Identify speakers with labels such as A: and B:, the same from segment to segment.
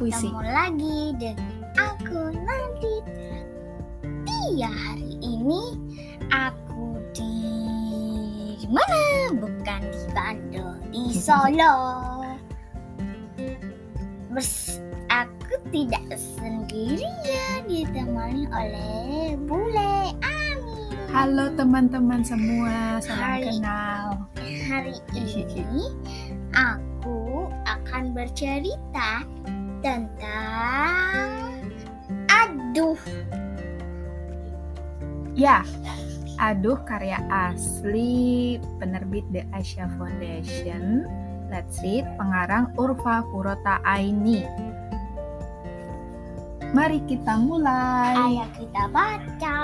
A: Puisi.
B: bertemu lagi dengan aku nanti. Iya hari ini aku di di mana? Bukan di Bandung, di Solo. Bers aku tidak sendirian ditemani oleh Bule Ami.
A: Halo teman-teman semua, salam
B: Hai.
A: kenal.
B: Hari ini aku akan bercerita tentang aduh
A: Ya, aduh karya asli penerbit The Asia Foundation. Let's read pengarang Urfa Purota Aini. Mari kita mulai.
B: ayo kita baca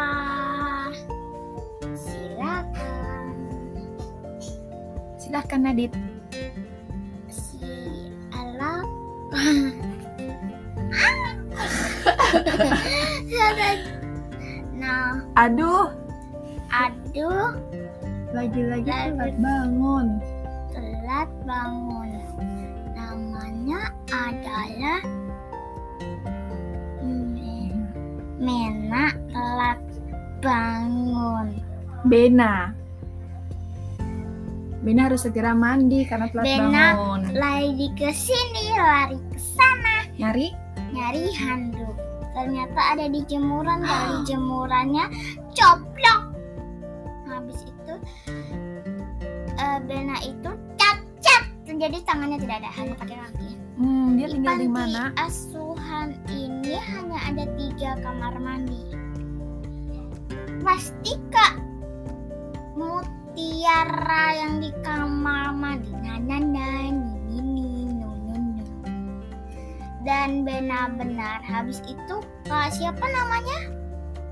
B: silakan
A: Silahkan Nadit.
B: si alap nah
A: Aduh,
B: aduh
A: lagi-lagi telat bangun.
B: telat bangun namanya adalah Me- Mena telat bangun
A: Bena. Bena harus segera mandi karena telat
B: Bena.
A: bangun.
B: lari ke sini lari ke sana
A: Nyari?
B: nyari handuk ternyata ada di jemuran dari jemurannya coplok habis itu eh, Bena itu cacat jadi tangannya tidak ada hanya pakai kaki
A: Hmm, dia
B: Di
A: tinggal di
B: panti
A: mana?
B: Asuhan ini hanya ada tiga kamar mandi. Mastika mutiara yang di kamar mandi Nah, nanana nini nununu. Dan benar-benar habis itu Kak siapa namanya?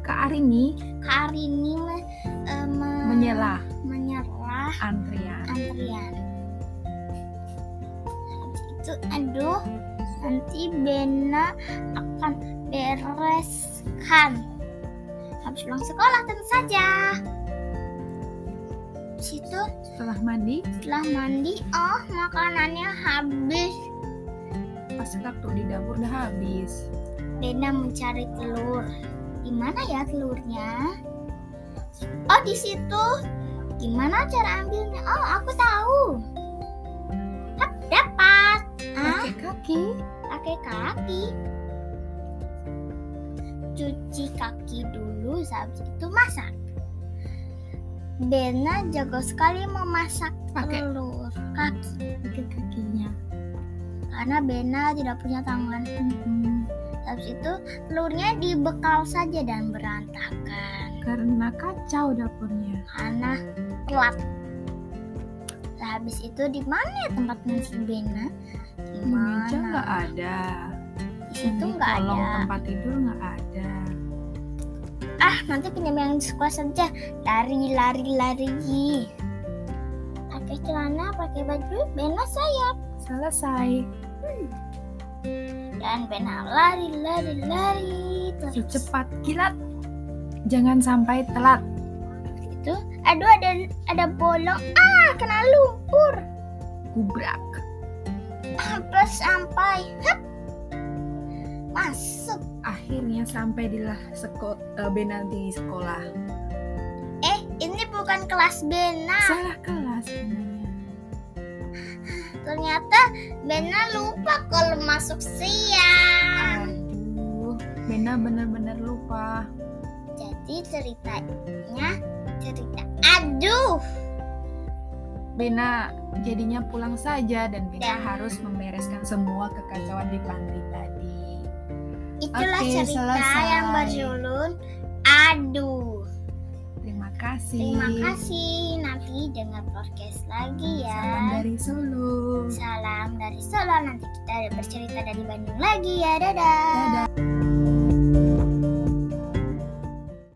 A: Kak Arini
B: Kak Arini me- eh, me-
A: menyela
B: menyerah
A: antrian.
B: antrian Habis itu aduh nanti Bena akan bereskan habis pulang sekolah tentu saja Habis itu
A: Setelah mandi,
B: setelah mandi oh makanannya habis
A: pas kartu di dapur udah habis.
B: Bena mencari telur di mana ya telurnya oh di situ gimana cara ambilnya oh aku tahu Hap, dapat ah
A: Pakai kaki.
B: pakai kaki cuci kaki dulu habis itu masak Bena jago sekali memasak
A: Pakai.
B: telur kaki
A: Pakai kakinya.
B: karena Bena tidak punya tangan
A: Hmm,
B: habis itu telurnya dibekal saja dan berantakan
A: karena kacau dapurnya.
B: karena telat Lah, habis itu di mana ya tempat mencuci Bena di mana
A: Meja nggak ada.
B: di situ
A: Di
B: nggak
A: kolong
B: ada
A: tempat tidur nggak ada.
B: ah nanti pinjam yang di sekolah saja lari lari lari pakai celana pakai baju Bena sayap
A: Selesai.
B: dan Bena lari lari lari terus
A: Secepat kilat. Jangan sampai telat.
B: itu gitu. aduh ada ada bolong ah kena lumpur
A: Gubrak.
B: hampir sampai Hup. masuk
A: Akhirnya sampai di lah seko- eh, Bena di sekolah.
B: eh ini bukan kelas Bena
A: Salah kelas sebenarnya.
B: ternyata Bena lupa kalau masuk siang
A: Aduh, Bena bener-bener lupa.
B: jadi ceritanya cerita aduh
A: Bena jadinya pulang saja dan Bena
B: Dan-
A: harus membereskan semua kekacauan di panti tadi.
B: Itulah
A: Oke,
B: cerita
A: selesai.
B: yang berjulun Aduh.
A: Terima kasih.
B: Terima kasih. Nanti dengar podcast lagi ya.
A: Salam dari Solo.
B: Salam dari Solo. Nanti kita bercerita dari Bandung lagi ya. Dadah.
A: Dadah.